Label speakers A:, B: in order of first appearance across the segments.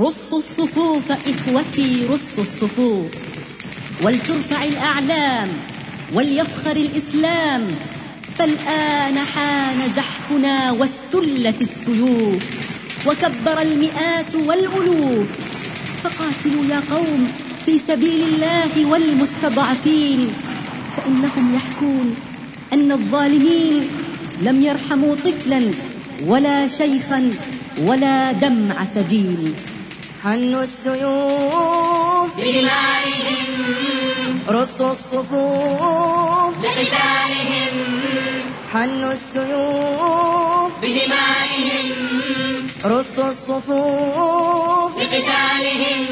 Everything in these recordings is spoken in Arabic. A: رصوا الصفوف إخوتي رصوا الصفوف ولترفع الأعلام وليفخر الإسلام فالآن حان زحفنا واستلت السيوف وكبر المئات والألوف فقاتلوا يا قوم في سبيل الله والمستضعفين فإنهم يحكون أن الظالمين لم يرحموا طفلا ولا شيخا ولا دمع سجيل
B: حنوا السيوف
C: بدمائهم
B: رصوا الصفوف
C: بقتالهم
B: حنوا السيوف
C: بدمائهم
B: رصوا الصفوف
C: بقتالهم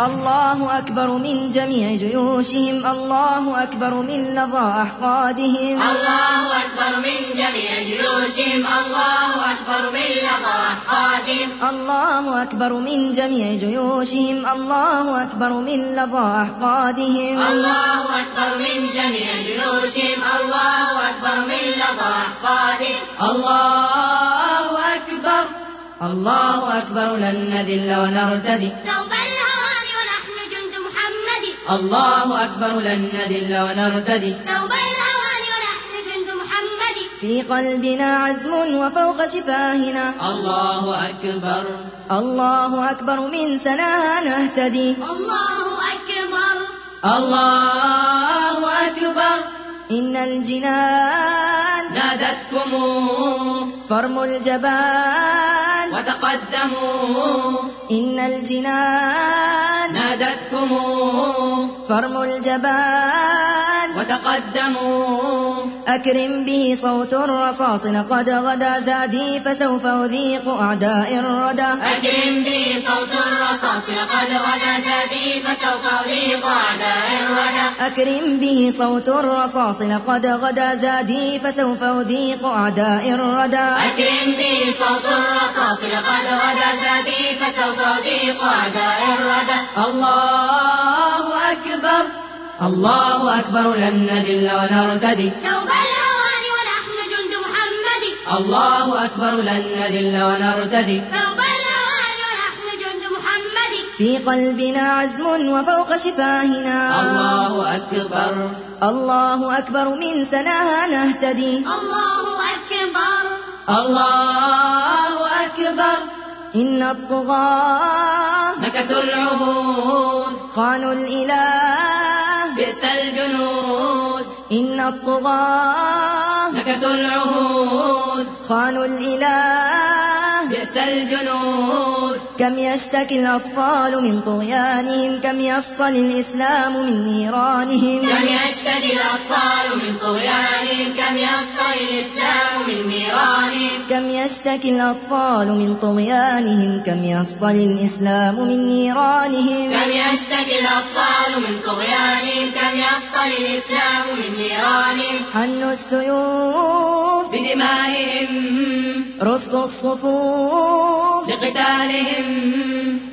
B: الله أكبر من جميع جيوشهم الله أكبر من لظى أحقادهم
C: الله أكبر من جميع جيوشهم الله أكبر من لظى أحقادهم
B: الله أكبر من جميع جيوشهم الله أكبر من لظى أحقادهم
C: الله أكبر من جميع جيوشهم الله أكبر من لظى أحقادهم
B: الله أكبر الله أكبر لن نذل ونرتدي
C: ثوب الهوان ونحن جند محمد
B: الله أكبر لن نذل ونرتدي
C: ثوب الهوان ونحن جند محمد
B: في قلبنا عزم وفوق شفاهنا
D: الله أكبر
B: الله أكبر من سناها نهتدي
C: الله أكبر
D: الله أكبر
B: إن الجنان
D: نادتكم
B: فرم الجبان
D: وتقدموا
B: إن الجنان
D: نادتكم
B: فرم الجبان
D: وتقدموا
B: أكرم به صوت الرصاص لقد غدا زادي فسوف أذيق أعداء الردى
C: أكرم به صوت الرصاص لقد غدا تدي فسوف أضيق أعداء الردى
B: أكرم به صوت الرصاص لقد غدا زادي فسوف أذيق أعداء الردى
C: أكرم به صوت الرصاص لقد غدا تدي فسوف أضيق أعداء الردى
D: الله أكبر الله أكبر لن نذل ونرتدي
C: ثوب الهوان ونحن جند محمد
D: الله أكبر لن نذل ونرتدي
C: ثوب الهوان ونحن جند محمد
B: في قلبنا عزم وفوق شفاهنا
D: الله أكبر
B: الله أكبر من سناها نهتدي
C: الله أكبر
D: الله أكبر
B: إن الطغاة
D: نكثوا العهود
B: خانوا الإله
D: بئس الجنود
B: إن الطغاة
D: نكثوا العهود
B: خانوا الإله
D: بئس الجنود
B: كم يشتكي الأطفال من طغيانهم كم يصطل الإسلام من
C: كم
B: نيرانهم
C: يشتدي الأطفال من طغيانهم كم يصطي الإسلام من نيرانهم
B: كم يشتكي الأطفال من طغيانهم كم يصطل الإسلام من نيرانهم
C: كم يشتكي الأطفال من طغيانهم كم يصطل الإسلام من نيرانهم
B: حنوا السيوف
D: بدمائهم
B: رصوا الصفوف
D: لقتالهم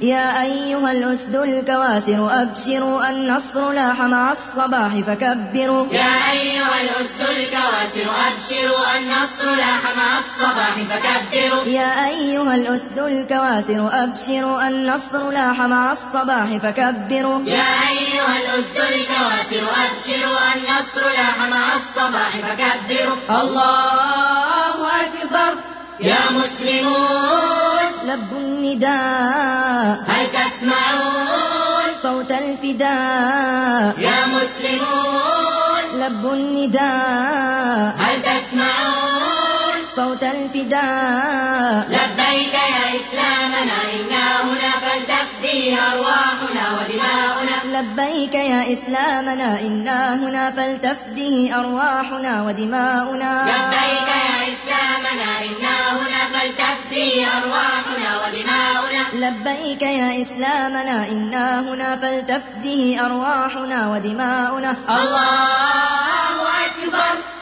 B: يا أيها الأسد الكواسر أبشروا النصر لاح مع الصباح فكبروا
C: يا أيها الأسد الكواسر أبشروا النصر لاح مع الصباح فكبروا
B: يا أيها الأسد الكواسر أبشروا النصر لاح مع الصباح فكبروا
C: يا أيها الأسد الكواسر أبشروا النصر لاح مع الصباح فكبروا
D: الله أكبر
C: يا مسلمون
B: لبوا النداء
C: هل تسمعون
B: صوت الفداء
C: يا مسلمون
B: لبوا النداء
C: هل تسمعون
B: صوت الفداء
C: لبيك يا إسلامنا إنا هنا فلتفدي أرواحنا ودماؤنا
B: لبيك يا إسلامنا إنا هنا فلتفديه أرواحنا ودماؤنا
C: لبيك يا إسلامنا إنا هنا فلتفدي أرواحنا ودماؤنا
B: لبيك يا إسلامنا إنا هنا فلتفديه أرواحنا ودماؤنا
C: الله أكبر